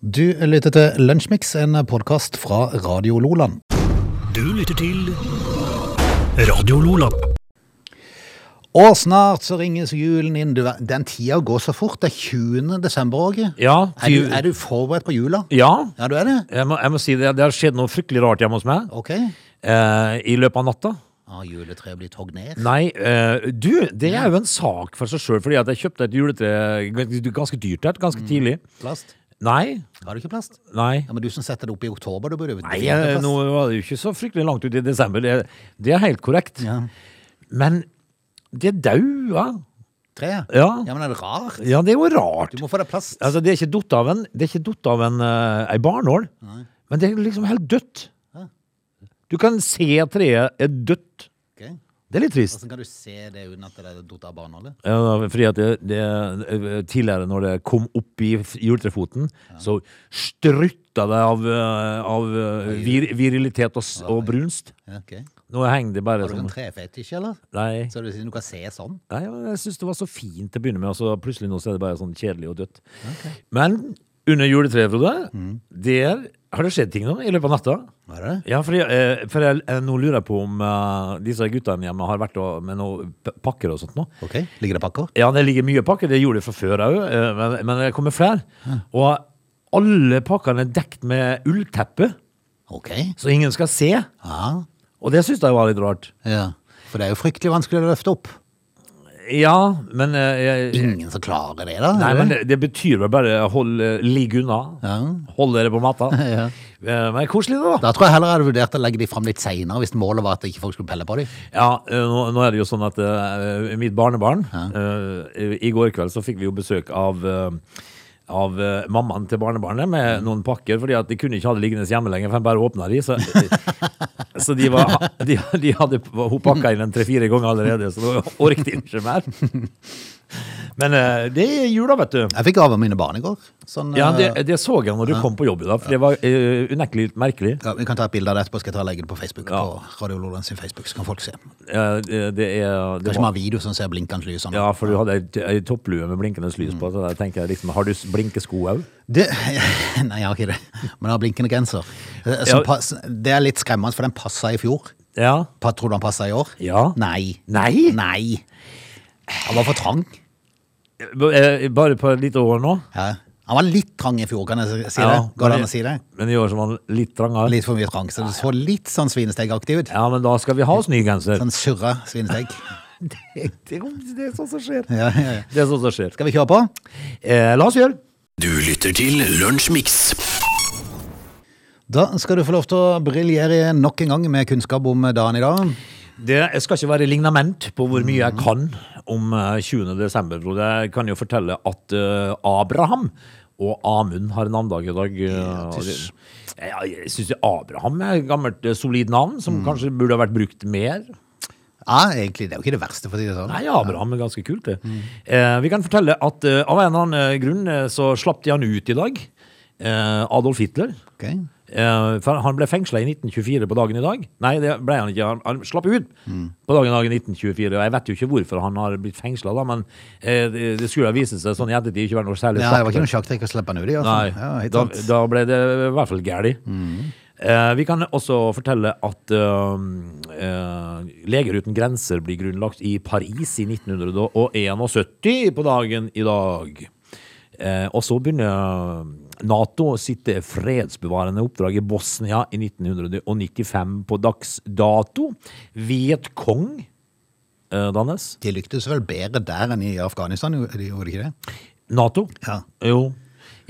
Du lytter til Lunsjmix, en podkast fra Radio Loland. Du lytter til Radio Lola. Og snart så ringes julen inn. Du, den tida går så fort. Det er 20. desember, Åge. Ja, Er du, ty- er du forberedt på jula? ja Ja, du er det? jeg, må, jeg må si det. Det har skjedd noe fryktelig rart hjemme hos meg Ok. eh, i løpet av natta. Ah, juletreet blir togd ned. Nei, eh, du, det er jo en sak for seg sjøl, fordi at jeg kjøpte et juletre gans- ganske dyrt et, Mm. ganske tidlig. Plast? Nei, Har du ikke plast? nei. Ja, men du som setter det opp i oktober, du burde jo Nei, eh, nå var det jo ikke så fryktelig langt ut i desember. Det, det er helt korrekt. Ja. Men det daua. Treet? Ja. Ja, men er det rart? ja, det er jo rart. Du må få deg plast. Altså, det er ikke datt av en, det er ikke datt av en eh, ei barnål, men det er liksom helt dødt. Ja. Du kan se treet er dødt. Ok. Det er litt trist. Hvordan kan du se det uten at det er dott av barnehålet? Ja, fordi at det, det, eh, tidligere, når det kom opp i f- juletrefoten, så strutta det av, eh, av eh, vir, virilitet og, s- og brunst. Ja, ok. Nå henger det bare Har du sånn. en trefetisj, eller? Nei, Så du sier du kan se sånn? nei men jeg syns det var så fint til å begynne med, og så plutselig nå så er det bare sånn kjedelig og dødt. Men under juletreet, Frode, Mm. der har det skjedd ting nå i løpet av natta. Hva er det? Ja, fordi, eh, for jeg, eh, nå lurer jeg på om eh, disse guttene hjemme har vært og, med noen p- pakker og sånt nå. Ok, ligger det pakker? Ja, det ligger mye pakker. Det gjorde det fra før òg, men, men det kommer flere. Og alle pakkene er dekt med ullteppe, Ok. så ingen skal se. Ja. Og det syns jeg var litt rart. ja. For det er jo fryktelig vanskelig å løfte opp. Ja, men eh, jeg, Ingen som klarer det, da? Nei, er men det? det, det betyr vel bare hold, eh, ligg unna. Ja. Hold dere på matta. Ja. Eh, Men koselig, det, da. Da tror jeg heller jeg hadde vurdert å legge de fram litt seinere, hvis målet var at ikke folk skulle pelle på dem. Ja, eh, nå, nå er det jo sånn at eh, mitt barnebarn eh, I går kveld så fikk vi jo besøk av eh, av eh, mammaen til barnebarnet med noen pakker, fordi at de kunne ikke ha det liggende hjemme lenger, for han bare åpna de. Så, så de, var, de, de hadde hun pakka inn en tre-fire ganger allerede, så da orket de ikke mer. Men eh, det er jula, vet du. Jeg fikk gave av mine barn i går. Sånn, Ja, det, eh, det så jeg når du kom på jobb i dag, for det var eh, unektelig litt merkelig. ja, vi kan ta et bilde av det etterpå. Skal jeg ta og legge det på Facebook Ja. På Radio Loland sin Facebook, så kan folk se. Kanskje Eh, det- det er det vi var, har video som ser blinkende lys sånn. Ja, for du hadde ei- ei topplue med blinkende lys på, så der tenker jeg liksom Har du s- blinkesko òg? Det, nei, jeg har ikke det. Men jeg har blinkende genser. Eh, som Ja. pass- Det er litt skremmende, for den passa i fjor. Ja. Pa- Tror du han passa i år? Ja. Nei. Nei? Nei. Han var for trang. B- eh, Bare på et lite år nå? Ja. Han var litt trang i fjor, kan jeg s- si det? Ja, Går det men- an å si det? Men i år så var den litt trangere. Litt for mye trang, så det så litt sånn svinesteggaktig ut. Ja, men da skal vi ha oss ny genser. Sånn surra svinestegg. Det, er sånn som skjer. Ja, ja, ja. Det er sånn som skjer. Skal vi kjøre på? Eh, la oss gjøre. Du lytter til Lunsjmix. Da skal du få lov til å briljere nok en gang med kunnskap om dagen i dag. Det jeg skal ikke være lignament på hvor mye jeg kan om eh, 20. desember. Frode. Jeg kan jo fortelle at eh, Abraham og Amund har navndag i dag. eh, og det, jeg jeg syns Abraham er et gammelt, eh, solid navn, som kanskje burde ha vært brukt mer. Ja, egentlig. Det er jo ikke det verste, for å si det sånn. Nei, Abraham er ganske kult, det. Eh, vi kan fortelle at eh, av en eller annen eh, grunn eh, så slapp de han ut i dag. Eh, Adolf Hitler. Ok. Eh, for han ble fengsla i 1924 på dagen i dag. Nei, det ble han ikke. Han, han slapp ut på dagen i dag i 1924. Og jeg vet jo ikke hvorfor han har blitt fengsla, da, men eh, det, det skulle ha vist seg sånn i ettertid ikke være noe særlig Ja, det var sakte. ikke noe sjakktrekk å slippe han ut i. altså. Nei, Ja, helt da, sant. Mm. da ble det i hvert fall gæli. Eh, vi kan også fortelle at eh, eh, Leger uten grenser blir grunnlagt i Paris i 1971 på dagen i dag. Eh, og så begynner eh, Nato sitt fredsbevarende oppdrag i Bosnia i 1995 på dags dato. Vietkong eh, dannes. De lyktes vel bedre der enn i Afghanistan, gjorde de gjorde de ikke det? Nato? Ja. Jo.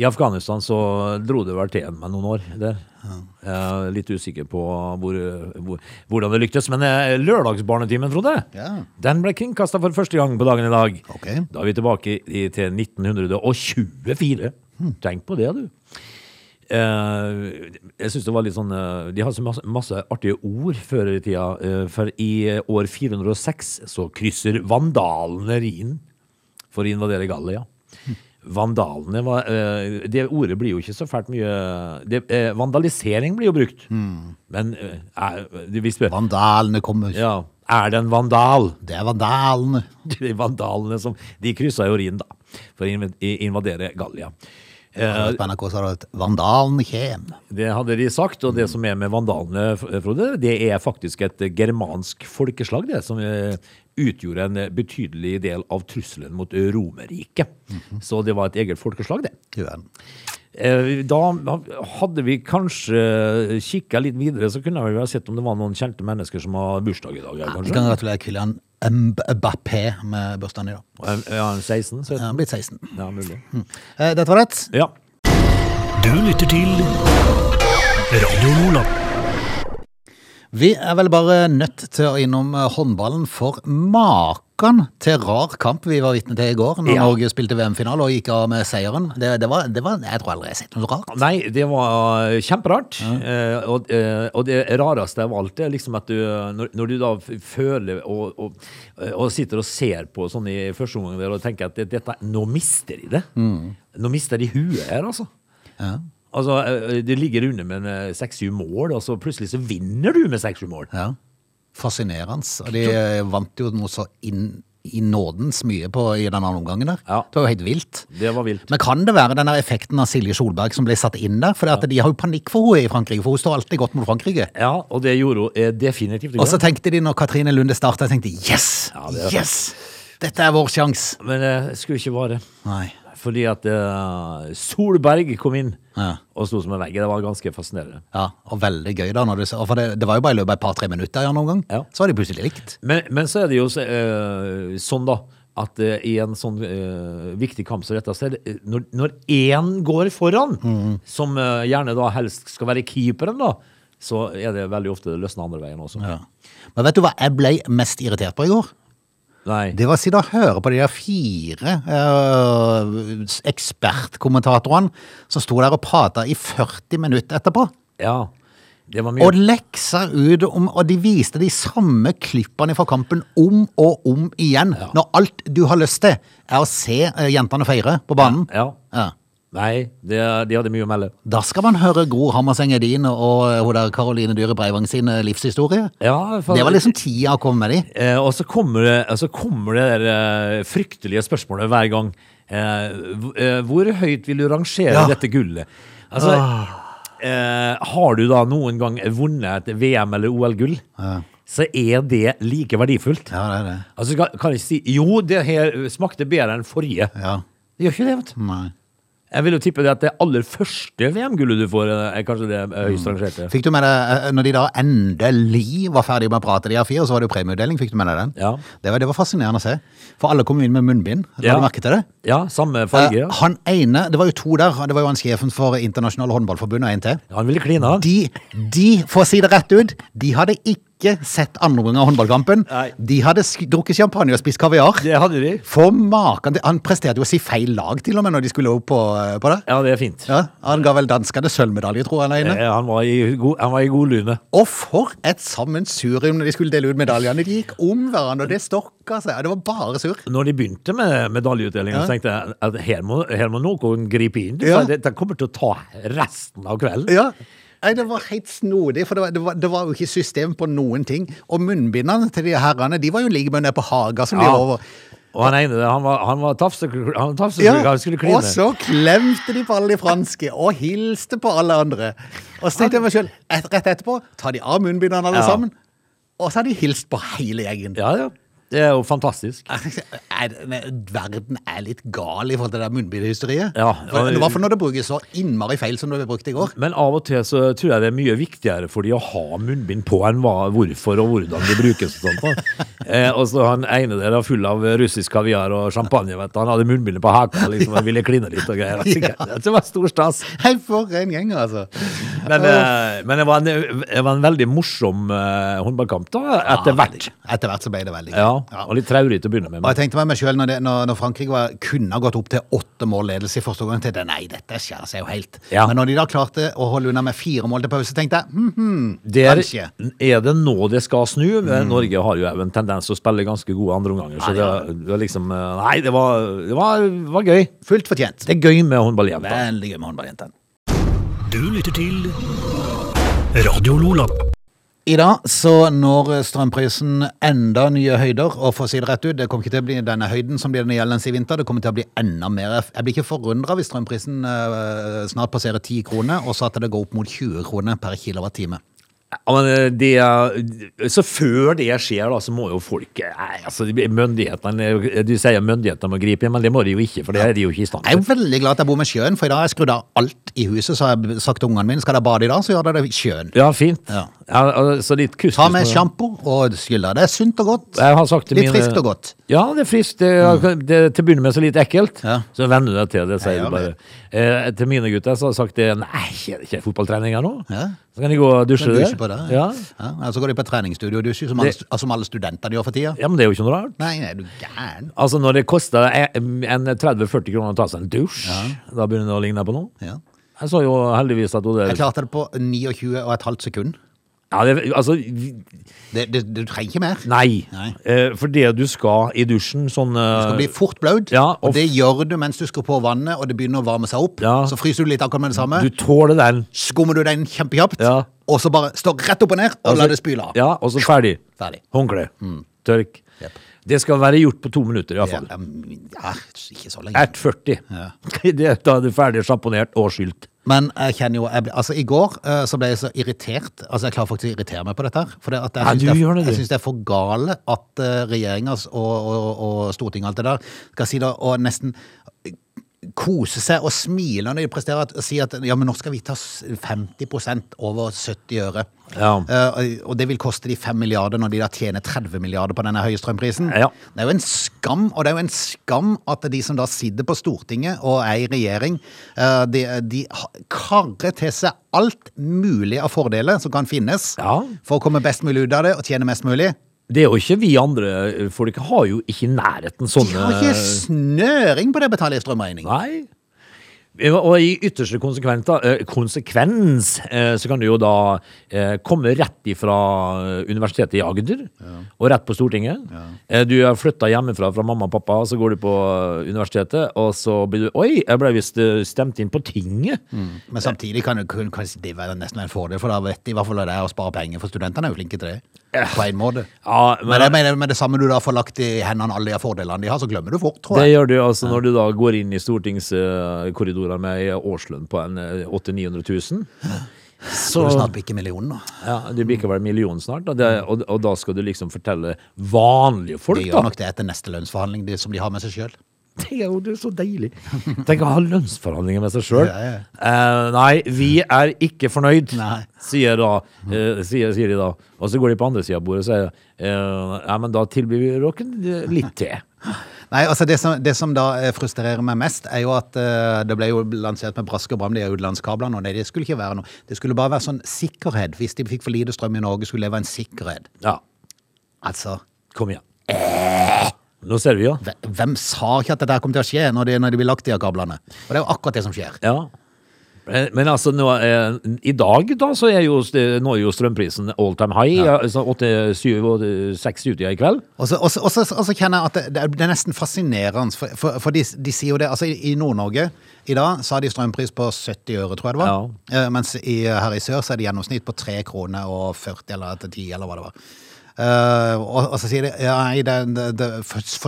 I Afghanistan så dro det vel til en med noen år der. Jeg er litt usikker på hvor, hvor, hvordan det lyktes. Men eh, lørdagsbarnetimen, Frode, Ja. den ble kringkasta for første gang på dagen i dag. Ok. Da er vi tilbake i, til 1924. Hmm. Tenk på det, du. Eh, jeg syns det var litt sånn eh, De har så masse, masse artige ord før i tida. eh, for i eh, år 406 så krysser vandalene Rhinen for å invadere Gallia. Vandalene var, eh, Det ordet blir jo ikke så fælt mye det, eh, Vandalisering blir jo brukt. Men eh, er, vi spør Vandalene kommer. ja, Er det en vandal? Det er vandalene. de vandalene som De kryssa jo Rhin, da, for å inv- i- invadere Gallia. Og På NRK sa de at 'Vandalen kjem'. Det hadde de sagt, og det som er med vandalene, F- Frode, det er faktisk et eh, germansk folkeslag, det, som eh, utgjorde en eh, betydelig del av trusselen mot eh, Romerriket. Så det var et eget folkeslag, det. Du verden. Eh, Da hadde vi kanskje kikka litt videre, så kunne vi ha sett om det var noen kjente mennesker som har bursdag i dag, ja, Vi kanskje. kan gratulere Kylian Mbappé med bursdagen i dag. Ja, 16? Han 17? er blitt 16. Ja, mulig. Eh, Dette var rett. Ja. Du lytter til Radio Lola. Vi er vel bare nødt til å innom eh, håndballen for maken til rar kamp vi var vitne til i går, når Ja. Norge spilte VM-finale og gikk av med seieren. Det, det, var, det var, Jeg tror aldri jeg har sett noe så rart. Nei, det var kjemperart. Eh, og, eh, og det rareste av alt er liksom at du, når, når du da f- føler og, og, eh, og sitter og ser på sånn i første omgang der og tenker at det, dette, nå mister de det. Mm. Nå mister de huet her, altså. Altså, eh, Det ligger under med en, eh, seks-syv mål, og så plutselig så vinner du med seks-syv mål. Ja. Fascinerende. Og de eh, vant jo noe så inn i nådens mye på, i den andre omgangen der. Ja. Det var jo helt vilt. Det var vilt. Men kan det være denne effekten av Silje Solberg som ble satt inn der? For det at de har jo panikk for henne i Frankrike, for hun står alltid godt mot Frankrike. Ja, og det gjorde hun eh, definitivt. Og så tenkte de når Katrine Lunde starta, tenkte yes! Ja, det er- yes! Dette er vår sjanse. Men eh, det skulle ikke vare. Nei. Fordi at eh, Solberg kom inn Ja. og sto som en vegg. Det var ganske fascinerende. Ja, og veldig gøy da, når du, sa- for det, det var jo bare i løpet av et par-tre minutter ja, noen gang, Ja. så var de plutselig likt. Men, men så er det jo så, eh, sånn, da, at eh, i en sånn eh, viktig kamp som dette, så er det eh, når- når én går foran, Mm. som eh, gjerne da helst skal være keeperen, da, så er det veldig ofte det løsner andre veien også. Men vet du hva jeg ble mest irritert på i går? Nei. Det var å sitte og høre på de der fire eh, ekspertkommentatorene som sto der og prata i 40 minutter etterpå. Ja. Det var Og mye. leksa ut om Og de viste de samme klippene fra kampen om og om igjen. Når alt du har lyst til, er å se eh, jentene feire på banen. Ja. Ja. Nei, det, de hadde mye å melde. Da skal man høre Gro Hammerseng Edin og eh, hun der Karoline Dyhre Breivang sin eh, livshistorie. Ja, for- Det var liksom tida å komme med de. Eh, og så kommer det, og så kommer det der, eh, fryktelige spørsmålet hver gang. Eh, hv- eh, hvor høyt vil du rangere Ja. dette gullet? Altså, eh, har du da noen gang vunnet et VM- eller OL-gull, så er det like verdifullt. Ja, det er det. Altså, kan, kan jeg si Jo, det her smakte bedre enn forrige. Ja. Det gjør ikke det, vet du. Nei. Jeg vil jo tippe det at det aller første VM-gullet du får, eh, er kanskje det eh, høyest rangerte. Fikk du med deg, eh, når de da endelig var ferdige med å prate, de her fire, så var det jo premieutdeling. Fikk du med deg den? Ja. Det, var, det var fascinerende å se. For alle kom inn med munnbind. La Ja. du merke til det? Ja, samme Eh, farge. ja. han ene, det var jo to der, det var jo han sjefen for Internasjonale Håndballforbund og en til. Han ville kline, han. De, de, for å si det rett ut, de hadde ikke sett andre omgang av håndballkampen. Nei. De hadde sk- drukket champagne og spist kaviar. Det hadde de. For maken til Han presterte jo å si feil lag til og med når de skulle opp på, eh, på det. Ja, det er fint. Ja, han ga vel danskene sølvmedalje, tror jeg. alene. Eh, Han var i god, han var i god lune. Og for et sammensurium når de skulle dele ut medaljene. De gikk om hverandre, og det stokka seg. og Det var bare surr. Når de begynte med medaljeutdelingen, Ja. så tenkte jeg at her må, her må noen gripe inn. Ja. For dette kommer til å ta resten av kvelden. Ja. Nei, Det var helt snodig, for det var, det, var, det var jo ikke system på noen ting. Og munnbindene til de herrene de var jo like med nede på Haga som de Ja. var over. Og han ene, han var, han var tafsekl- han tafsekl- han skulle kline. Og så klemte de på alle de franske, og hilste på alle andre. Og så tenkte jeg meg sjøl, et, rett etterpå tar de av munnbindene alle Ja. sammen. Og så har de hilst på hele gjengen. Ja, ja. Det er jo fantastisk. Jeg tenkte, er det- men Verden er litt gal i forhold til det der munnbindhysteriet. Ja. For- I hvert fall når det brukes så innmari feil som det ble brukt i går. Men av og til så tror jeg det er mye viktigere for de å ha munnbind på enn hva, hvorfor og hvordan de brukes og sånt. da. Eh, og så han ene der var full av russisk kaviar og champagne, vet du. Han hadde munnbindet på haka liksom, og ville kline litt og greier. Det var stor stas. Nei, for en gjeng, altså. Men, eh, men det, var en, det var en veldig morsom eh, håndballkamp da, etter hvert. Etter hvert så ble det veldig gøy. Ja, og litt traurig til å begynne med. Og jeg Men, tenkte meg meg selv når, det, når, når Frankrike var, kunne ha gått opp til åtte mål ledelse i første omgang, tenkte jeg nei, dette skjærer seg jo helt. Ja. Men når de da klarte å holde unna med fire mål til pause, tenkte jeg hm, hm, det er, kanskje. Mm. er det nå det skal snu? Men Norge har jo en tendens til å spille ganske gode andreomganger. Så det, det var liksom eh, Nei, det var, det var, var gøy. Fullt fortjent. Det er gøy med håndball igjen. da. Veldig gøy med håndballjentene. Du lytter til Radio Lola. I dag så når strømprisen enda nye høyder, og for å si det rett ut, det kommer ikke til å bli denne høyden som blir den gjeldende i vinter, det kommer til å bli enda mer. Jeg blir ikke forundra hvis strømprisen eh, snart passerer 10 kroner, og så at det går opp mot 20 kroner per kilowattime. Ja, men eh, det, er- så før det skjer, da, så må jo folk eh, Nei, altså, de- myndighetene eh, Du sier myndighetene må gripe inn, men det må de jo ikke, for det er de jo ikke i stand Jeg til. er veldig glad at jeg bor med sjøen, for i dag har jeg skrudd av alt i huset, så har jeg b- sagt til ungene mine skal dere bade i dag, så gjør dere det i sjøen. Ja, fint. Ja. Ja, al- så litt kustus Ta med på- sjampo og skylle. Det er sunt og godt. Jeg har sagt til Litt mine- friskt og godt. Mm. Ja, det er friskt. Det, er- det, til å begynne med så litt ekkelt. Ja. Så venner du deg til det, sier Ja, du bare. det. Eh, til mine gutter så har jeg sagt det. Nei, er det ikke fotballtrening her nå? Ja. Så kan de gå og dusje Du der. dusjer på det. Ja. Ja. Ja, og så går de på treningsstudio og dusjer, som, alle- altså Det- som alle studenter de gjør for tida. ja, men det er jo ikke noe rart. Nei, nei, du gæren. Altså, når det koster en en 30-40 kroner å ta seg en dusj, da begynner det å ligne på noe. Ja. Jeg så jo heldigvis at hun der Jeg klarte det på 29 og et halvt sekund. ja, det, Altså, vi- Det, det, du trenger ikke mer. nei. Nei. Eh, for det du skal i dusjen, sånn Du eh, skal bli fort blaut, Ja, og og- det gjør du mens du skrur på vannet og det begynner å varme seg opp. Ja. Så fryser du litt akkurat med det samme. Du tåler den. Skummer du den kjempekjapt, Ja. og så bare står rett opp og ned og Altså, lar det spyle av. Ja, og så ferdig. Ferdig. Mm. Håndkle. Tørk. Jep. Det skal være gjort på to minutter, Ja, iallfall. ja, men- ja, ikke så lenge. 1,40. Ja. Det, da er det ferdig sjamponert og skylt. Men jeg kjenner jo jeg, ble- Altså, i går eh, så ble jeg så irritert. Altså, jeg klarer faktisk å irritere meg på dette her. For det at jeg Ja, syns du det, gjør er- det, du. jeg syns det er for gale at uh, regjeringa og, og, og Stortinget og alt det der skal si det og nesten kose seg og smile når de presterer at, og si at ja, men nå skal vi ta s- 50 over 70 øre. Ja. Eh, og det vil koste de 5 milliarder når de da tjener 30 milliarder på denne høye strømprisen. Ja. Det er jo en skam, og det er jo en skam at de som da sitter på Stortinget og er i regjering, eh, de, de ha- karrer til seg alt mulig av fordeler som kan finnes Ja. for å komme best mulig ut av det og tjene mest mulig. Det er jo ikke vi andre eh, folk har jo ikke i nærheten De sånne har ikke snøring på det å betale i strømregning. Nei. Og i ytterste konsekvens, da, eh, konsekvens eh, så kan du jo da eh, komme rett ifra eh, Universitetet i Agder og rett på Stortinget. Eh, Du har flytta hjemmefra fra mamma og pappa, så går du på eh, universitetet, og så blir du Oi, jeg ble visst eh, stemt inn på Tinget! Men samtidig kan jo kun- kan det være nesten en fordel, for da vet de i hvert fall hva det er å spare penger, for studentene er jo flinke til det. På en måte. Ja, Men jeg mener, med det samme du da får lagt i hendene alle de fordelene de har, så glemmer du fort, tror Det jeg. gjør du altså når du da går inn i stortingskorridorer med ei årslønn på en eh, 800 000-900 000. Så Så du snart bikker millionen nå. ja, du blir ikke vel million snart, og, det, og, og da skal du liksom fortelle vanlige folk, De gjør da. nok det etter neste lønnsforhandling de, som de har med seg sjøl. Det er jo det er så deilig. Tenk å ha lønnsforhandlinger med seg sjøl. Ja, ja. Eh, nei, vi er ikke fornøyd, Nei. sier, da, eh, sier, sier de da. Og så går de på andre sida av bordet og sier eh, ja, men da tilbyr vi dere litt til. Nei, altså det som, det som da eh, frustrerer meg mest, er jo at eh, det ble jo lansert med brask og bram, de utenlandskablene, og nei, det skulle ikke være noe. Det skulle bare være sånn sikkerhet. Hvis de fikk for lite strøm i Norge, skulle det være en sikkerhet. Ja, Altså, kom igjen. Eh, Nå ser vi jo. hve- hvem sa ikke at det der kom til å skje når de, når de blir lagt i av kablene? Og det er jo akkurat det som skjer. Ja. Men, men altså, nå, eh, i dag da, så er jo, st- nå er jo strømprisen all time high. Ja. Altså 8, 7, 6 ute i kveld. Og så, og, så, og, så, og så kjenner jeg at det, det er- det er nesten fascinerende, for, for, for de, de sier jo det Altså, i, i Nord-Norge i dag så har de strømpris på 70 øre, tror jeg det var. Eh, mens i, her i sør så er det gjennomsnitt på 3 kroner og 40 eller etter 10, eller hva det var. Eh, og, og så sier de ja, nei, det, det, det,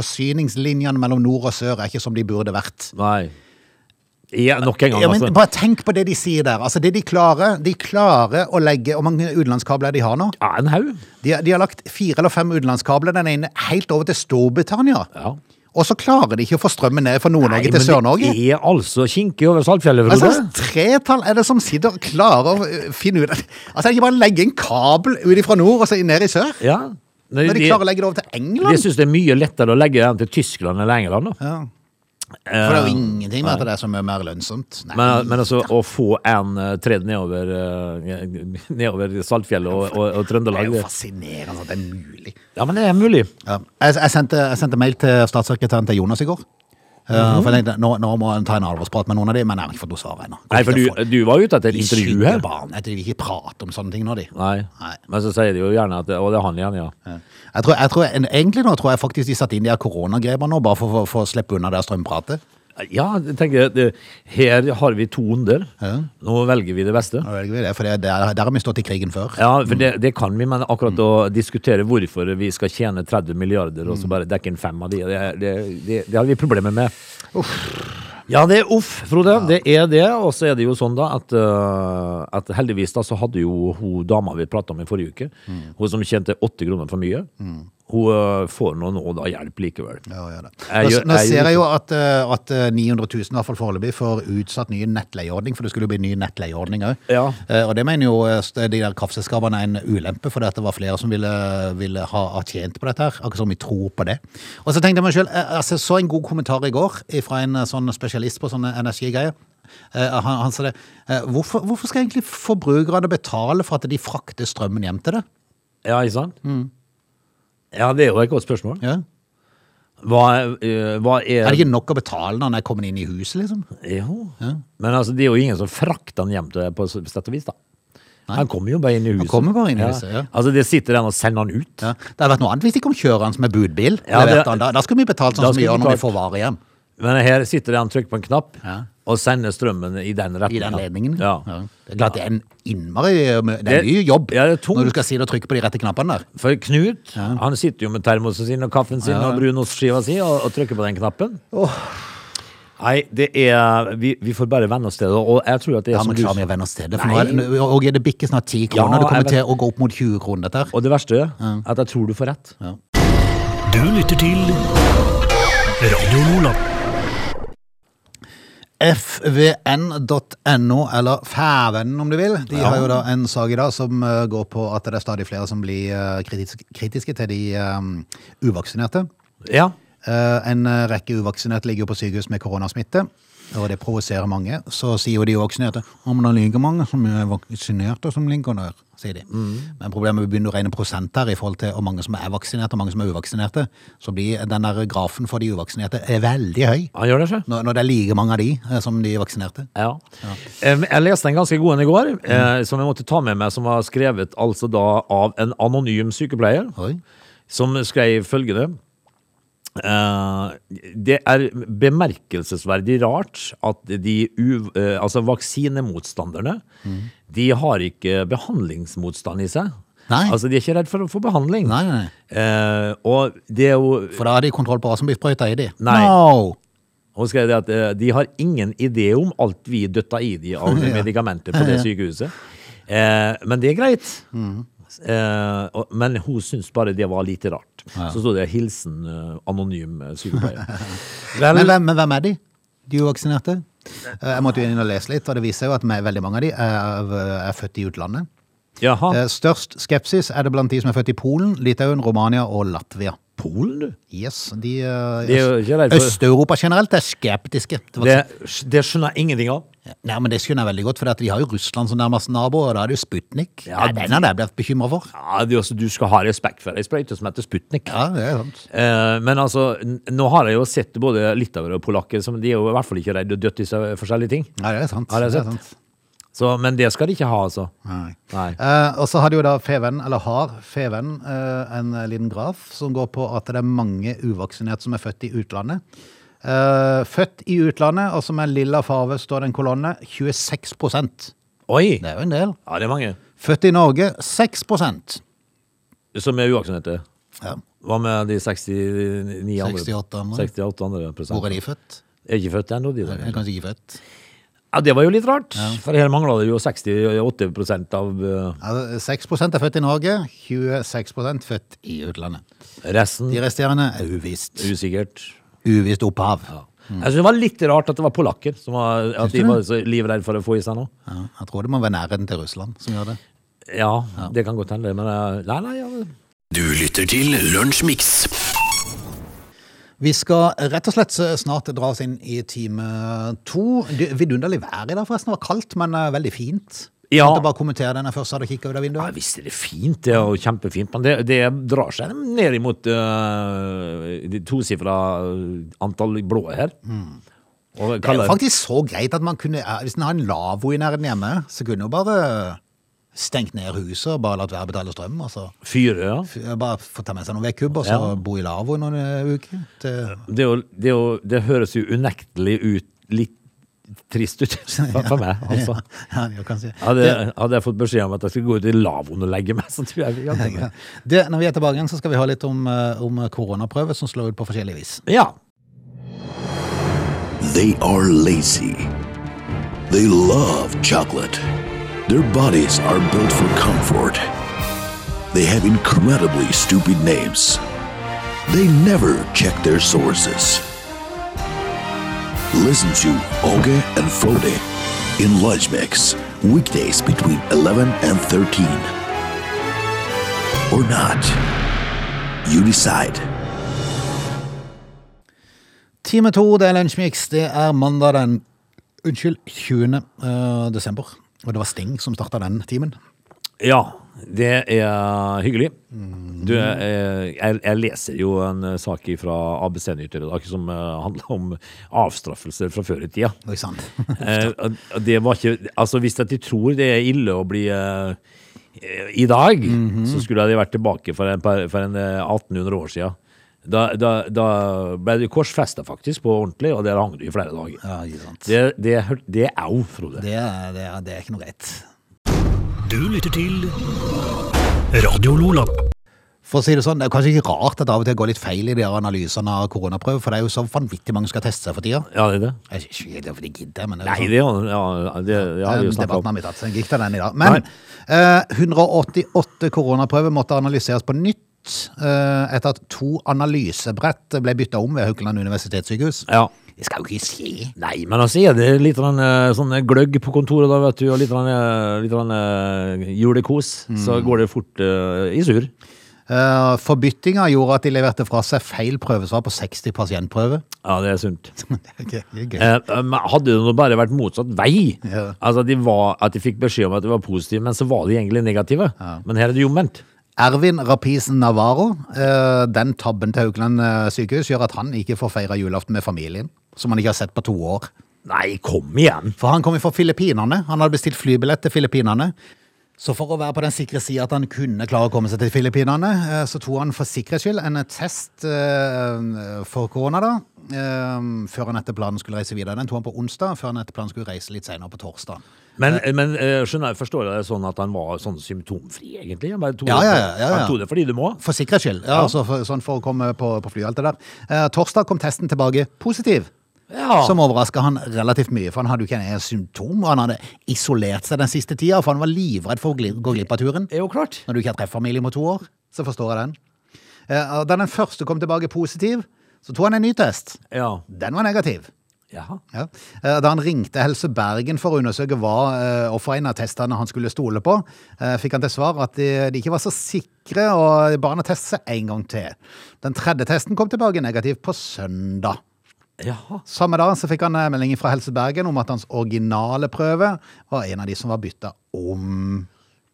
forsyningslinjene mellom nord og sør er ikke som de burde vært. Nei. Ja, nok en gang, Ja, men altså. Bare tenk på det de sier der. Altså, det de klarer, de klarer å legge Hvor mange utenlandskabler de har nå? Ja, en haug. De, har- de har lagt fire eller fem utenlandskabler, den ene helt over til Storbritannia. Ja. Og så klarer de ikke å få strømmen ned fra Nord-Norge Nei, til men Sør-Norge. Det er altså kinkig over Saltfjellet, Altså, Frode. tretall er det som sitter og klarer å øh, finne ut at- Altså, er det ikke bare å legge en kabel ut fra nord og så ned i sør? Ja. Nei, Når de de- klarer å legge det over til de England? syns det er mye lettere å legge den til Tyskland eller England. Da. Ja. For det er jo ingenting med at det er så mye mer lønnsomt. Nei. Men, men altså, å få en eh, tredd nedover, eh, nedover Saltfjellet og, og, det og er Trøndelag jo det- fascinerende at det er mulig. Ja, men det er mulig. Ja. Jeg, jeg, sendte, jeg sendte mail til statssekretæren til Jonas i går. Uh, Mhm. For jeg tenkte, nå, nå må han ta en alvorsprat med noen av de, men jeg har ikke fått noe svar ennå. Nei, for du, du var ute etter et De intervju her. skyggebarn. Jeg tror de ikke prater om sånne ting nå, de. Nei. Nei. Men så sier de jo gjerne at det- Å, det er han igjen, ja. Ja. Jeg tror, jeg tror, en- egentlig nå tror jeg faktisk de satte inn de her koronagreper nå, bare for for- for å slippe unna det strømpratet. Ja, jeg tenker det, her har vi to onder. Nå velger vi det beste. Da velger vi det, for det, der, der har vi stått i krigen før. Ja, for det, det kan vi, men Mm. akkurat å diskutere hvorfor vi skal tjene 30 milliarder Mm. og så bare dekke inn fem av de, det, det, det, det har vi problemer med. Ja, det er uff, Frode. Det er det. Og så er det jo sånn da at, øh, at heldigvis da så hadde jo hun dama vi prata om i forrige uke, Mm. hun som tjente åtte kroner for mye, hun øh, får nå nå da hjelp likevel. Ja, ja, da. Jeg Nå, gjør- nå jeg ser gjør- jeg jo at, eh, at eh, 900 000 i hvert fall foreløpig får utsatt ny nettleieordning, for det skulle jo bli ny nettleieordning òg. Ja. og det mener jo eh, de der kraftselskapene er en ulempe, for det var flere som ville, ville ha, ha tjent på dette her. Akkurat som vi tror på det. Og så tenkte jeg meg sjøl, jeg så en god kommentar i går fra en eh, sånn spesialist på sånne energigreier. Eh, han, han sa det. eh, hvorfor, hvorfor skal egentlig forbrukerne betale for at de frakter strømmen hjem til det? Ja, ikke sant? Ja, det er jo et godt spørsmål. Mm. Ja. Hva, er- øh, hva er, Er det ikke nok å betale når han er kommet inn i huset, liksom? Jo. Men altså, det er jo ingen som frakter han hjem til deg på s- sett og vis, da. Han kommer jo bare inn i huset. kommer bare inn i huset, ja. Altså, det sitter den og sender han ut. Ja. Det hadde vært noe annet hvis de kom kjørende med budbil. Ja, Leverte det- han da, da skulle vi betalt sånn Da som vi gjør skulle vi når vi får betalt. varer hjem. Men her sitter han, trykker på en knapp, Ja. og sender strømmen i den I retningen. den ledningen. Ja. Det er klart det er en innmari um, Det er Det- mye jobb Ja, det er tungt. når du skal si det og trykke på de rette knappene der. For Knut, han sitter jo med termosen sin og kaffen sin og brunostskiva si og, og trykker på den knappen. Nei, det er vi, vi får bare venne oss til det, og jeg tror at det er Ja, som men du klarer vi å vende oss til det? For nå Nei. er, det- og er det bikker snart 10 Ja, kroner. det kommer jeg vet- til å gå opp mot 20 kroner, dette her. Og det verste er at jeg tror du får rett. Du lytter til Radio Lola. fvn.no, eller Fævennen om du vil. De har jo da en sak i dag som eh, går på at det er stadig flere som blir eh, kritisk, kritiske til de eh, uvaksinerte. Ja. Eh, En eh, rekke uvaksinerte ligger jo på sykehus med koronasmitte, og det provoserer mange. Så sier jo de uvaksinerte at det ligger mange som er vaksinerte som ligger der, sier de. Men problemet er vi begynner å regne prosent her i forhold til hvor mange som er vaksinerte og mange som er uvaksinerte. Så blir den der grafen for de uvaksinerte er veldig høy. Han gjør det, sjø. Når, når det er like mange av de eh, som de vaksinerte. Ja. Em, Jeg leste en ganske god en i går, Mm. eh, som jeg måtte ta med meg, som var skrevet altså da av en anonym sykepleier. Oi. som skrev følgende eh, Det er bemerkelsesverdig rart at de u, eh, altså vaksinemotstanderne Mm. De har ikke behandlingsmotstand i seg. Nei. Altså De er ikke redd for å få behandling. Nei, nei, nei. Eh, og det er jo For da har de kontroll på hva som blir sprøyta i de. Nei. No! Hun skrev det at eh, de har ingen idé om alt vi døtta i de av Ja. medikamenter på det Ja. Mm. sykehuset. Eh, men det er greit. Eh, og, men hun syntes bare det var lite rart. Så sto det 'hilsen eh, anonym eh, sykepleier'. Vel, Men hvem, men hvem er de? De uvaksinerte? Eh, Jeg måtte jo inn og lese litt, og det viser jo at me- veldig mange av de er, er født i utlandet. jaha. Eh, Størst skepsis er det blant de som er født i Polen, Litauen, Romania og Latvia. Polen, du. Yes, de, eh, De er jo ikke redd for- Øst-Europa generelt er skeptiske. til Det, vaksiner. det skjønner jeg ingenting av. Nei, men det skjønner jeg veldig godt, for at de har jo Russland som nærmest nabo, og da er det jo Sputnik. Ja, Ja, den hadde jeg blitt bekymra for. Ja, det er også, du skal ha respekt for ei sprøyte som heter Sputnik. Ja, det er sant. Eh, men altså, n- nå har jeg jo sett både litauere og polakker som de er jo i hvert fall ikke redde å døtte i seg forskjellige ting. Ja, det er sant. Ja, det er sant. Så, men det skal de ikke ha, altså. Nei. Nei. Eh, og så har de jo da Feven, eller har Feven, eh, en liten graf som går på at det er mange uvaksinerte som er født i utlandet. Eh, født i utlandet, og som er lilla farve, står det en kolonne, 26 Det Oi! er jo en del. Ja, det er mange. Født i Norge, 6 Som er uaksenerte. ja. Hva med de 69 andre? 68 andre. 68 andre prosent. Hvor er de født? Er ikke født ennå, de De er der. kanskje ikke født. Ja, det var jo litt rart, for her mangla det jo 68 prosent av eh, Altså, 6 er født i Norge, 26 født i utlandet. resten. De resterende er uvisst. Usikkert. Uvisst opphav. Ja. Jeg synes det var litt rart at det var polakker. Som var, at de var så livredde for å få i seg noe. Ja, jeg tror det må være nærheten til Russland som gjør det. Ja, det kan godt hende, men eh, Nei, nei, ja. Du lytter til Lunsjmix. Vi skal rett og slett snart dra oss inn i time to. Du, Vidunderlig vær i dag, forresten. Det var kaldt, men eh, veldig fint. Ja. Jeg måtte bare kommentere den jeg først hadde kikka ut av ja vinduet. visst er det fint, det er jo kjempefint, men det, det drar seg ned imot eh, de tosifra antall blå her. Og Det er kaller- jo faktisk så greit at man kunne eh, Hvis en har en lavvo i nærheten hjemme, så kunne jo bare stengt ned huset og bare latt være å betale strøm. Altså. Fyre, ja. F- eh, Bare få ta med seg noen vedkubber og så Ja. bo i lavvo noen eh, uker. til- Det, er jo, det, er jo, det høres jo unektelig ut litt trist ut for, for meg, altså. Ja, jeg kan si. Hadde, hadde jeg fått beskjed om at jeg skulle gå ut i lavvoen og legge meg, så tror jeg vi hadde Ja. Det, når vi er tilbake igjen, så skal vi ha litt om, eh, om koronaprøver som slår ut på forskjellig vis. Ja. They are lazy. They love chocolate. Their bodies are built for comfort. They have incredibly stupid names. They never check their sources. Listen to Oge and Frode in Lunch Mix, weekdays between 11 and 13. Or not. You decide. Time to, det er Lunsjmix. Det er mandag den Unnskyld, 20. eh, desember. Og det var Sting som starta den timen. ja. Det er hyggelig. Du, eh, jeg, jeg leser jo en eh, sak fra ABC Nyheter i dag som eh, handler om avstraffelser fra før i tida. Ikke sant? Eh, og- og det var ikke Altså, hvis at de tror det er ille å bli eh, eh, i dag, Mhm. så skulle de vært tilbake for en, par- for en eh, 1800 år siden. Da, da, da ble du korsfesta faktisk på ordentlig, og der hang du i flere dager. Ja, ikke sant. Det, Det, det, hør- det er au, Frode. er, det, er, det er ikke noe greit. Du lytter til Radio Lola. For å si det sånn, Det er kanskje ikke rart at det av og til går litt feil i de her analysene av koronaprøver, for det er jo så vanvittig mange som skal teste seg for tida. Ja, det er det. Jeg er ikke helt for de gidder, men det er Nei, jo sånn. det, er jo- ja, det, det har vi jo Den snakka debatten om. har vi tatt, så jeg gikk til den i dag. Men eh, 188 koronaprøver måtte analyseres på nytt eh, etter at to analysebrett ble bytta om ved Haukeland universitetssykehus. Ja. Det skal jo ikke skje. Nei, men altså er det litt sånn, eh, sånn gløgg på kontoret, da, vet du, og litt, sånn, eh, litt sånn, eh, julekos, så Mm. går det fort eh, i surr. Eh, Forbyttinga gjorde at de leverte fra seg feil prøvesvar på 60 pasientprøver. Ja, det er sunt. Det er gøy. Eh, men hadde det nå bare vært motsatt vei, Ja. altså at de, var, at de fikk beskjed om at de var positive, men så var de egentlig negative. Men her er det jo omvendt. Ervin Rapisen Navarro, eh, den tabben til Haukeland eh, sykehus gjør at han ikke får feire julaften med familien, som han ikke har sett på to år. Nei, kom igjen! For han kom jo fra Filippinene. Han hadde bestilt flybillett til Filippinene. Så for å være på den sikre sida at han kunne klare å komme seg til Filippinene, eh, så tok han for sikkerhets skyld en test eh, for korona, da. eh, Før han etter planen skulle reise videre. Den tok han på onsdag, før han etter planen skulle reise litt senere på torsdag. Men, men eh, skjønner, jeg- forstår jeg det sånn at han var sånn symptomfri, egentlig? Han bare tok, Ja, det- ja, ja, ja, ja. Han tok det fordi du må? For sikkerhets skyld, ja, altså for, sånn for å komme på, på fly og alt det der. Eh, Torsdag kom testen tilbake positiv. Ja. Som overraska han relativt mye, for han hadde jo ikke en symptom. Og han hadde isolert seg den siste tida, for han var livredd for å gli- gå glipp av turen. Det er jo klart. Når du ikke har treffet familie på to år, så forstår jeg den. Eh, og Da den første kom tilbake positiv, så tok han en ny test. Ja. Den var negativ. Jaha. Ja. Eh, Da han ringte Helse Bergen for å undersøke hva eh, og for en av testene han skulle stole på, eh, fikk han til svar at de, de ikke var så sikre, og ba han å teste seg en gang til. Den tredje testen kom tilbake negativ på søndag. Jaha. Samme dag så fikk han eh, melding fra Helse Bergen om at hans originale prøve var en av de som var bytta om.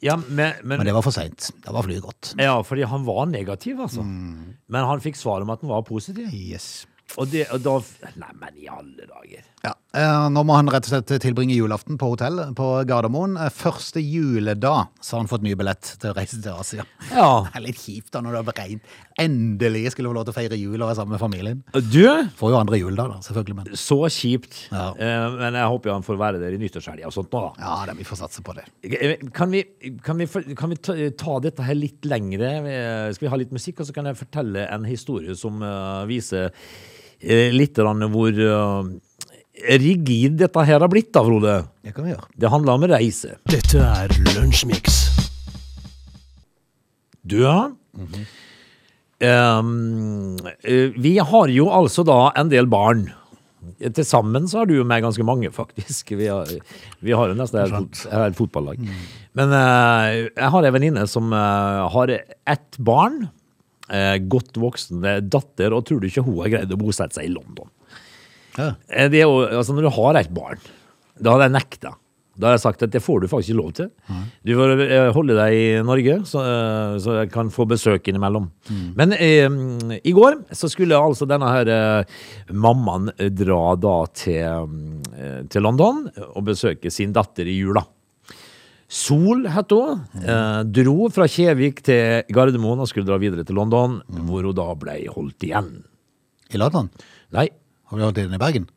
Ja, men, men, Men det var for seint. Da var flyet gått. ja, fordi han var negativ, altså. Men han fikk svar om at han var positiv. Yes. Og, det, og da Nei, men i alle dager. Ja, eh, Nå må han rett og slett tilbringe julaften på hotell på Gardermoen. Eh, Første juledag så har han fått ny billett til å reise til Asia. Ja. Det er litt kjipt da når det har beregnet. Endelig skulle få lov til å feire jul og være sammen med familien. Du? Får jo andre jul da, da, selvfølgelig. Men Så kjipt. Ja. Eh, men jeg håper jo han får være der i nyttårshelga og sånt nå, da. ja, da, vi får satse på det. Eh, Kan vi, kan vi, for- kan vi ta, eh, ta dette her litt lengre? Eh, Skal vi ha litt musikk, og så kan jeg fortelle en historie som eh, viser eh, litt grann hvor eh, rigid dette her har blitt, da, Frode. Det kan vi gjøre. Det handler om reise. Dette er Lunsjmix. Du, ja. Ehm, eh, vi har jo altså da en del barn. Eh, Til sammen så har du jo med ganske mange, faktisk. Vi har, vi har jo nesten et, fot, et fotballag. Men eh, jeg har ei venninne som eh, har ett barn. eh, godt voksen eh, datter, og tror du ikke hun har greid å bosette seg i London? Ja. Eh, Det er jo, altså når du har et barn, da har jeg nekta. Da har jeg sagt at det får du faktisk ikke lov til. Du får eh, holde deg i Norge, så, eh, så jeg kan få besøk innimellom. Men eh, i går så skulle altså denne her eh, mammaen eh, dra da til, eh, til London og besøke sin datter i jula. Sol het hun. Eh, dro fra Kjevik til Gardermoen og skulle dra videre til London, hvor hun da ble holdt igjen. I London? Nei, Har du holdt den i Bergen?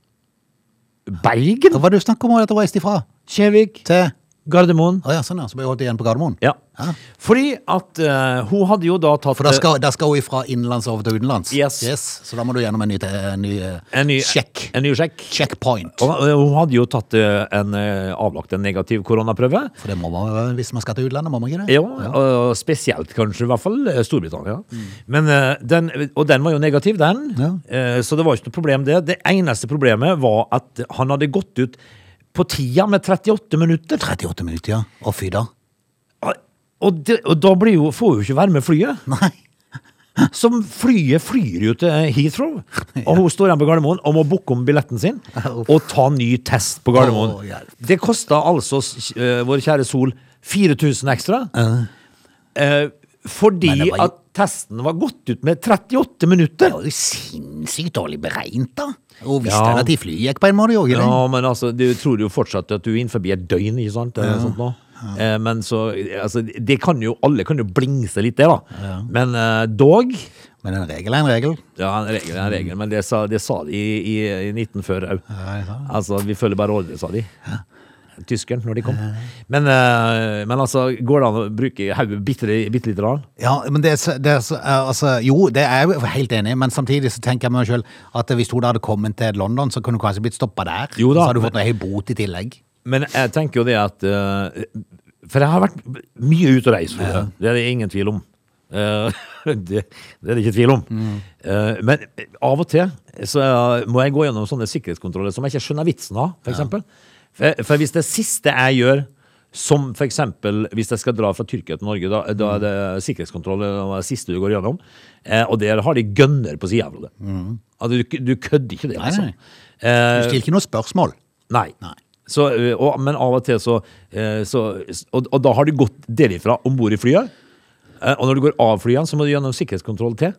Bergen? Hva var det du snakket om at du reiste ifra? Kjevik? Til Gardermoen? Å ja, sånn ja. Så ble jeg holdt igjen på Gardermoen? Ja. Ja. Fordi at eh, hun hadde jo da tatt Ah. For da skal, da skal hun fra innenlands over til utenlands? Eh. Yes. Så da må du gjennom en ny, en ny, eh, en ny sjekk. En ny sjekk. Checkpoint. Og eh, hun hadde jo tatt eh, en, eh, avlagt en negativ koronaprøve. For det må man hvis man skal til utlandet, må man ikke det? Ja, og spesielt kanskje, i hvert fall eh, Storbritannia. Men, eh, den, og den var jo negativ, den. Mm. Ja. Eh, Så det var ikke noe problem, det. Det eneste problemet var at han hadde gått ut på tida med 38 minutter. 38 minutter, ja. Å, fy da. Og, det, og da blir jo, får hun ikke være med flyet. Nei. Som flyet flyr jo til Heathrow. Og hun står igjen på Gardermoen og må booke om billetten sin Uff. og ta ny test på Gardermoen. Å, hjelp. det kosta altså s- eh, vår kjære Sol 4000 ekstra. Eh, fordi Men det var jo- at testen var gått ut med 38 minutter. Det var jo sinnssykt dårlig beregnet, da. Hun visste Ja. ja. at de flyet gikk på en måte, jo. ikke det? Ja, men altså, du tror jo fortsatt at du er innenfor et døgn, ikke sant? Eller noe sånt nå. Eh, Men så, altså, det kan jo, alle kan jo blingse litt det da. Men eh, dog, Men en regel er en regel. ja, en regel er en regel, men det sa, det sa de i, i, i 19 før. au. det sa Altså, vi følger bare ordre, sa de. Tyskeren, når de kom. Men, eh, men altså, går det an å bruke hodet bitte, bitte litt rann? Ja, men det, er så- det er så- eh, altså, Jo, det er jeg jo helt enig i, men samtidig så tenker jeg meg sjøl at hvis hun da hadde kommet til London, så kunne hun kanskje blitt stoppa der. Jo da, så hadde hun men- fått noe høy bot i tillegg. Men jeg tenker jo det at eh, For jeg har vært mye ute og reist. Frode. Det er det ingen tvil om. Eh, det, det er det ikke tvil om. Mm. Eh, men av og til så må jeg gå gjennom sånne sikkerhetskontroller som jeg ikke skjønner vitsen av, for eksempel. For, for hvis det siste jeg gjør som for eksempel hvis jeg skal dra fra Tyrkia til Norge, da, da er det Mm. sikkerhetskontroll det er det siste du går gjennom. Eh, og der har de gønner på sida av det. Altså, du, du kødder ikke det, Mm. Nei, altså. nei. Du stilte ikke noe spørsmål. Nei. Nei. Så, ø, og, men av og til så, ø, så og, og da har du gått derifra om bord i flyet. eh, Og når du går av flyet, så må du gjennom sikkerhetskontroll til.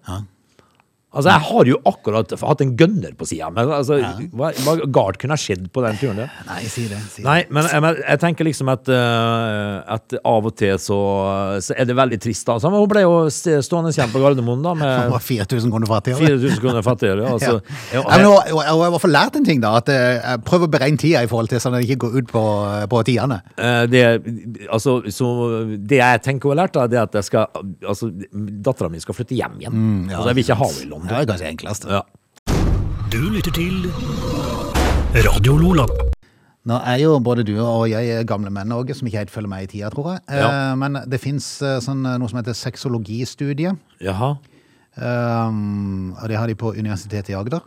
Altså, Jeg har jo akkurat hatt en gønner på sida, men altså, hva, hva galt kunne ha skjedd på den turen? der? Nei, si det. Si Nei, men jeg, men jeg tenker liksom at, eh, at av og til så, så er det veldig trist. da. Så, men hun ble jo st- stående igjen på Gardermoen da, det. Hun med var 4000 kroner fattigere. 4000 kroner fattigere. altså. Og så, altså. Ja. Ja, men hun, hun, hun har i hvert fall lært en ting, da. At eh, Prøv å beregne tida i forhold til sånn at den ikke går ut på, på tidene. Eh, Det, altså, så det jeg tenker å ha lært, da, det er at jeg skal, altså, dattera mi skal flytte hjem igjen. altså, jeg vil ikke ha henne i Det London. er kanskje enklest. Ja. Du lytter til Radio Lola. Nå er jo både du og jeg er gamle menn også, som ikke helt følger med i tida, tror jeg. Eh, Ja. Men det fins sånn, eh, noe som heter sexologistudie. Jaha. Um, og det har de på Universitetet i Agder.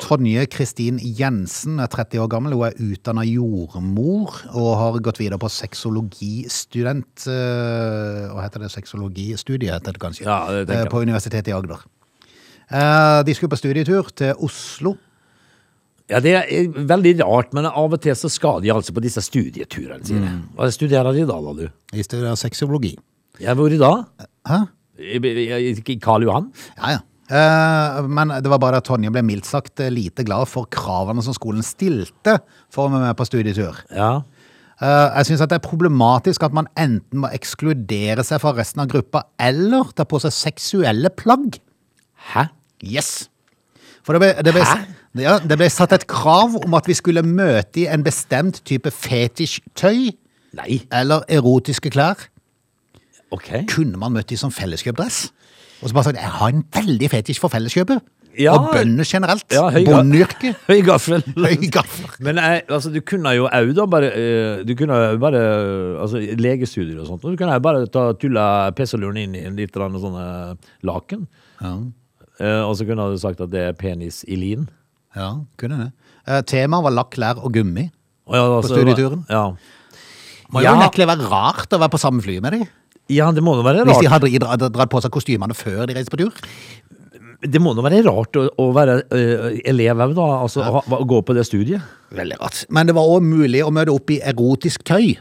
Tonje Kristin Jensen er 30 år gammel. Hun er utdanna jordmor og har gått videre på sexologistudent eh, Hva heter det? Sexologistudiet, heter det kanskje. Ja, det tenker eh, jeg. på Universitetet i Agder. Eh, de skulle på studietur til Oslo. Ja, det er eh, veldig rart, men av og til så skal de altså på disse studieturene sine. Hva studerer de da, da, du? De studerer sexologi. Ja, hvor da? Hæ? I, i, i i Karl Johan? Ja, ja. Eh, Men det var bare at Tonje ble mildt sagt eh, lite glad for kravene som skolen stilte for å være med på studietur. Ja. Eh, Jeg syns det er problematisk at man enten må ekskludere seg fra resten av gruppa, eller ta på seg seksuelle plagg. Hæ? Yes! For det ble, det ble, Hæ? ja, det ble satt et krav om at vi skulle møte i en bestemt type fetisjtøy Nei, eller erotiske klær. ok. Kunne man møtt i som felleskjøpdress? Og så bare sagt, jeg har en veldig fetisj for felleskjøpet. Ja. Og bønder generelt. Ja, høy ga- Bondeyrket. Høy gaffel. Høy gaffel. Men jeg, altså, du kunne jo au da bare eh, Du kunne jo bare eh, Altså legestudier og sånt. og Du kunne jo bare ta tulla pisseluren inn i en litt grann sånne sånn, laken. Eh, og så kunne du sagt at det er penis i lin. Ja, kunne det. Eh, Temaet var lakk, klær og gummi. Og ja, altså, studieturen? Ja. Må Ja. jo nekkelig være rart å være på samme fly med dem. ja, det må nå være Hvis de rart, hadde dra- dra- dratt på seg kostymene før de reiste på tur. det må nå være rart å, å være eh, elev òg, da. Altså å ha, å gå på det studiet. Veldig rart. Men det var òg mulig å møte opp i erotisk tøy.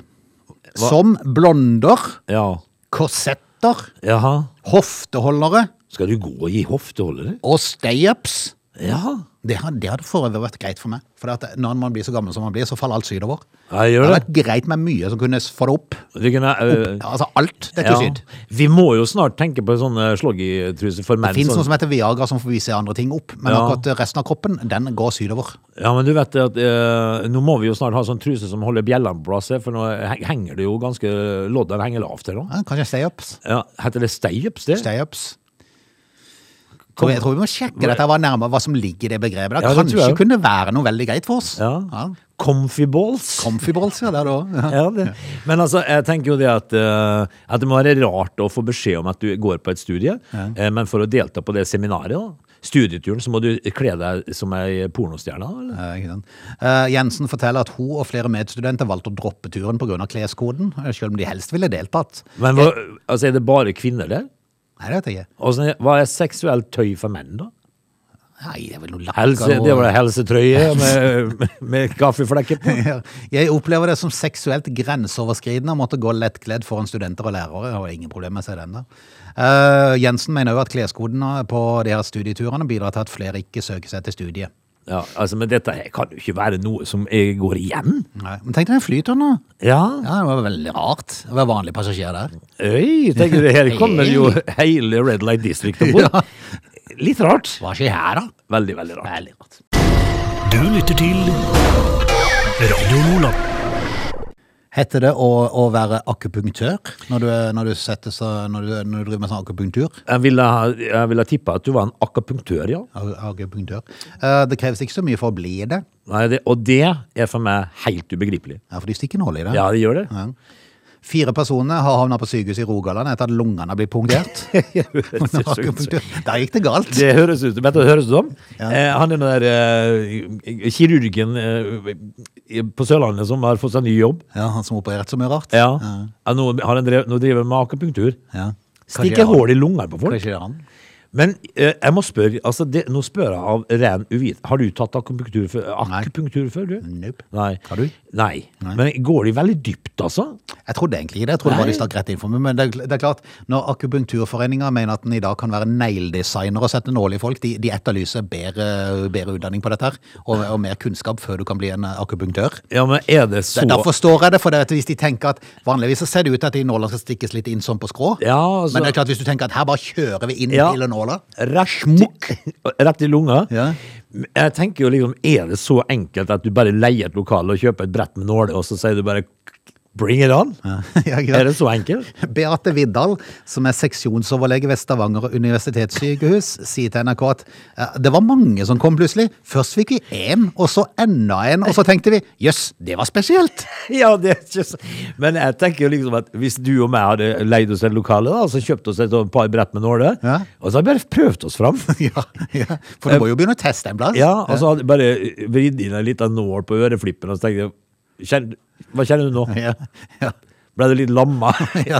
Som blonder, Ja. korsetter, Jaha. hofteholdere Skal du gå i hofteholdere? og stay-ups. Ja. Det hadde, det hadde for øvrig vært greit for meg. For at når man blir så gammel som man blir, så faller alt sydover. Ja, gjør hadde det. vært greit med mye som kunne få det opp. Vi, kunne, eh, Altså alt det er til ja. syd. vi må jo snart tenke på sånn, eh, sånne sloggytruser for menn. Det finnes noe sånn- som heter Viagra som får vise andre ting opp, men Ja. akkurat resten av kroppen, den går sydover. Ja, men du vet at eh, nå må vi jo snart ha sånn truse som holder bjellene på plass, her, for nå he- henger det jo ganske Loddene henger lavt her nå. Ja, kanskje stay-ups. Ja, heter det stay-ups, det? Stay-ups. Tror Jeg tror vi må sjekke dette, hva, nærmere, hva som ligger i det begrepet. Det Ja, det tror kanskje jeg. kunne det være noe veldig greit for oss. Ja. Comfy balls. Comfy balls, ja. Det er det også. Ja. ja, det. Men altså, jeg tenker jo det at, eh, at det må være rart å få beskjed om at du går på et studie, eh, men for å delta på det seminaret, da, studieturen, så må du kle deg som ei pornostjerne, da, eller? Eh, ikke sant? Eh, Jensen forteller at hun og flere medstudenter valgte å droppe turen pga. kleskoden, eh, selv om de helst ville deltatt. Men hva, altså, er det bare kvinner der? Nei, det vet jeg ikke. Åssen er- hva er seksuelt tøy for menn, da? Nei, det er vel noe lakker Helse, og- det var det helsetrøye med, med kaffeflekker på. Ja. Jeg opplever det som seksuelt grenseoverskridende å måtte gå lettkledd foran studenter og lærere. Jeg har ingen problem med å se den der. Eh, Jensen mener òg at kleskodene på de her studieturene bidrar til at flere ikke søker seg til studiet. Ja, altså, men dette her kan jo ikke være noe som eh, går igjen. Nei. Men tenk deg den flyturen, da. Ja. Ja, det var veldig rart å være vanlig passasjer der. Øy, tenker du, her kommer jo hele Red Light District om bord. Litt rart. Hva skjer her, da? Veldig, veldig rart. Veldig rart. Du lytter til Radio Lola. Heter det å, å være akupunktør når du, er- når, du setter, seg- når, du, når du driver med sånn akupunktur? Jeg ville, ha- jeg ville tippa at du var en akapunktør, ja. A- Akupunktør. Eh, det kreves ikke så mye for å bli det, Nei, det, og det er for meg helt ubegripelig. ja, for de stikker nål i det. Ja, det gjør det. Fire personer har havna på sykehuset i Rogaland etter at lungene blir punktert. Under akupunktur. Der gikk det galt. Det høres ut vet du hva det høres ut som. Eh, han er den der eh, kirurgen eh, på Sørlandet som har fått seg ny jobb. Ja, Han som opererte så mye rart. Ja. Ja, nå, har han drev, nå driver han med akupunktur. Ja. Kanskje det er Stikker han. hull i lungene på folk. Kanskje det er han. Men eh, jeg må spørre, altså det, nå spør jeg av ren uvit. Har du tatt akupunktur før, Nei. akupunktur før du? Nope. Nei. Har du? Nei. Men går de veldig dypt, altså? Jeg trodde egentlig ikke det. Jeg trodde bare Nei. de stakk rett inn for meg. Men det, er kl- det er klart, når Akupunkturforeninga mener at en i dag kan være negledesigner og sette nål i folk, de, de etterlyser bedre, bedre utdanning på dette her, og, og mer kunnskap før du kan bli en eh, akupunktør. Ja, men er det så Da forstår jeg det, for det at hvis de tenker at vanligvis så ser det ut til at de nålene skal stikkes litt inn sånn på skrå, Ja, altså- men det er klart hvis du tenker at her bare kjører vi inn Ja. til nåla, Rasjmukk! Rett i lunga. Ja. Jeg tenker jo liksom, er det så enkelt at du bare leier et lokale og kjøper et brett med nåler, og så sier du bare bring it on? Ja, ikke sant? Er det så enkelt? Beate Vidal, som er seksjonsoverlege ved Stavanger universitetssykehus, sier til NRK at eh, det var mange som kom plutselig. Først fikk vi én, og så enda en, og så tenkte vi jøss, det var spesielt. Ja, det er ikke så... Men jeg tenker jo liksom at hvis du og meg hadde leid oss et lokale, da, og så kjøpt oss et sånt par brett med nåler, Ja. og så hadde vi bare prøvd oss fram. ja, ja, for du må jo begynne å teste en plass. Ja, altså- og så hadde jeg bare vridd inn en liten nål på øreflippen, og så tenkte jeg, kjenn- hva kjenner du nå? Ja, ja. Ble du litt lamma? Ja.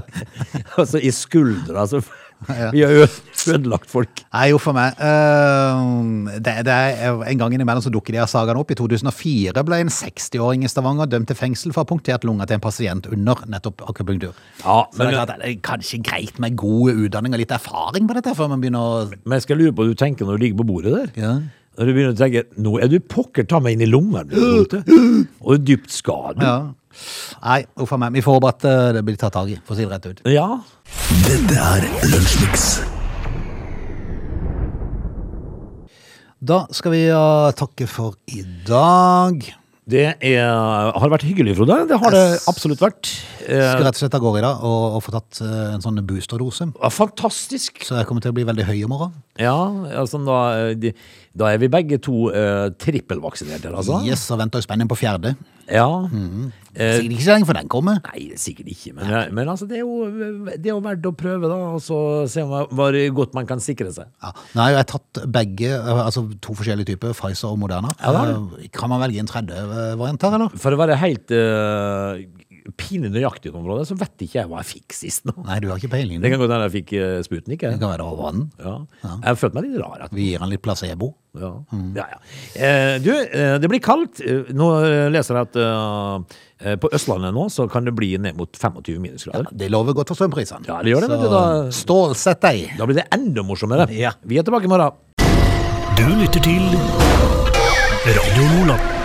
altså i skuldra, altså. Ja. Vi har jo ødelagt folk. Nei, jo for meg. eh, det, det er En gang innimellom så dukker de av sagaene opp. I 2004 ble en 60-åring i Stavanger dømt til fengsel for å ha punktert lunga til en pasient under nettopp akupunktur. Ja, Så det men- er klart, det er kanskje greit med god utdanning og litt erfaring på dette før man begynner å Men jeg skal lure på hva du tenker når du ligger på bordet der. Ja. Når du begynner å tenke, nå er du pokker, ta meg inn i lungene. du, vet du. Og dypt skadet. Ja. Nei, uff a meg. Vi får håpe at eh, det blir tatt tak i, for å si det rett ut. ja. Dette er Lunsjmix. Da skal vi eh, takke for i dag. Det er, har vært hyggelig, Frode. Det har det absolutt vært. Eh, Skal rett og slett av gårde i dag og, og få tatt eh, en sånn boosterdose. fantastisk. Så jeg kommer til å bli veldig høy i morgen. Ja, altså da, eh, de, da er vi begge to eh, trippelvaksinerte, altså. Yes, og venter i spenning på fjerde. Ja. Mhm. eh, Sikkert ikke så lenge for den kommer. nei, sikkert ikke, men, men altså, det er, jo, det er jo verdt å prøve, da. Og så se hva, hva godt man kan sikre seg. Ja. Nå har jo jeg tatt begge, eh, altså to forskjellige typer, Pfizer og Moderna. Ja, da har Eh, kan man velge en tredje eh, variant her, eller? For å være helt uh, pinlig nøyaktig, på området, så vet ikke jeg hva jeg fikk sist nå. Nei, du har ikke peiling. Det Det kan godt hende jeg fikk eh, Sputnik. Jeg. kan være det over vann. Ja. Jeg følte meg litt rar. At Vi gir han litt placebo. Ja, ja, ja. Eh, du, eh, det blir kaldt. Eh, Nå eh, leser jeg at eh, eh, på Østlandet nå så kan det bli ned mot 25 minusgrader. Det lover godt for strømprisene. Ja, det gjør det, vet du, da- Så stålsett deg. Da blir det enda morsommere. Ja. Vi er tilbake i morgen. Du lytter til Radio Nordland.